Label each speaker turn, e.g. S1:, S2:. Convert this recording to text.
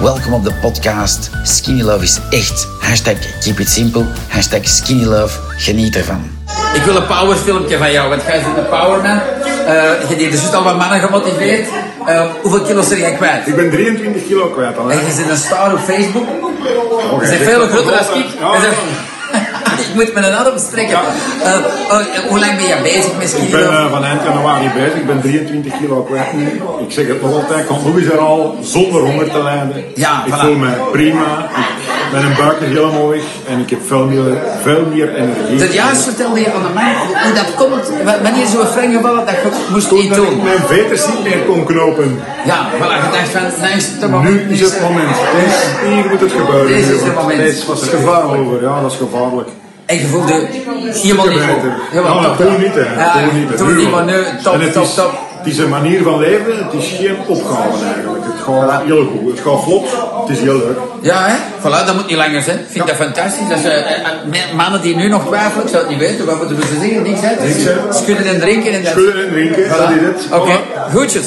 S1: Welkom op de podcast. Skinny Love is echt. Hashtag keep it simple. Hashtag skinny love. Geniet ervan.
S2: Ik wil een powerfilmpje van jou, want jij zit een powerman. Eh je hebt dus al wat mannen gemotiveerd. Eh, hoeveel kilo's ben jij kwijt?
S3: Ik ben 23 kilo kwijt al. Hè.
S2: En je zit een star op Facebook. Je bent
S3: dit
S2: veel
S3: is
S2: groter dan
S3: wel-
S2: ik.
S3: ja,
S2: Je zegt- ik moet met een adem strekken. Eh, eh, hoe lang ben je bezig met
S3: Ik ben
S2: skiën?
S3: eh, van eind januari bezig, ik ben 23 kilo kwijt nu. Ik zeg het nog altijd, ik Louis er al zonder honger te lijden.
S2: Ja,
S3: ik
S2: voilà.
S3: voel me prima, ik, mijn buik is helemaal weg en ik heb veel meer, veel meer energie.
S2: Dat Dus juist vertelde je aan de man hoe- hoe dat komt. wa- Wanneer is zo'n frank gevallen dat je moest
S3: Toen
S2: niet
S3: dat ik
S2: doen?
S3: mijn veters niet meer kon knopen.
S2: Ja, voilà, je dacht van, nou is het toch
S3: Nu is het moment. Dit- hier moet het gebeuren.
S2: Dit is het
S3: jongen.
S2: moment.
S3: Dit was het gevaar over. Ja, dat is gevaarlijk.
S2: En je voelde helemaal niet goed.
S3: beter.
S2: Helemaal
S3: Ja, maar
S2: top,
S3: Nou, toen niet, hè.
S2: Ja,
S3: toen niet. hè.
S2: Toen
S3: Nu
S2: niet,
S3: wel.
S2: maar nu top,
S3: En het
S2: top,
S3: is-
S2: top.
S3: Het is een manier van leven, het is geen opgave eigenlijk. Het gaat heel goed, het gaat vlot, het is heel leuk.
S2: Ja, hè? Voilà, dat moet niet langer zijn. Ik vind dat fantastisch. Dat ze, eh, eh, me- mannen die nu nog twijfelen, ik zou het niet weten, wat moeten we ze zeggen? Niks, hè? Dus
S3: Niks, hè.
S2: schudden en drinken en dat.
S3: Schudden en drinken, dat is het.
S2: Voilà. Oké, goedjes.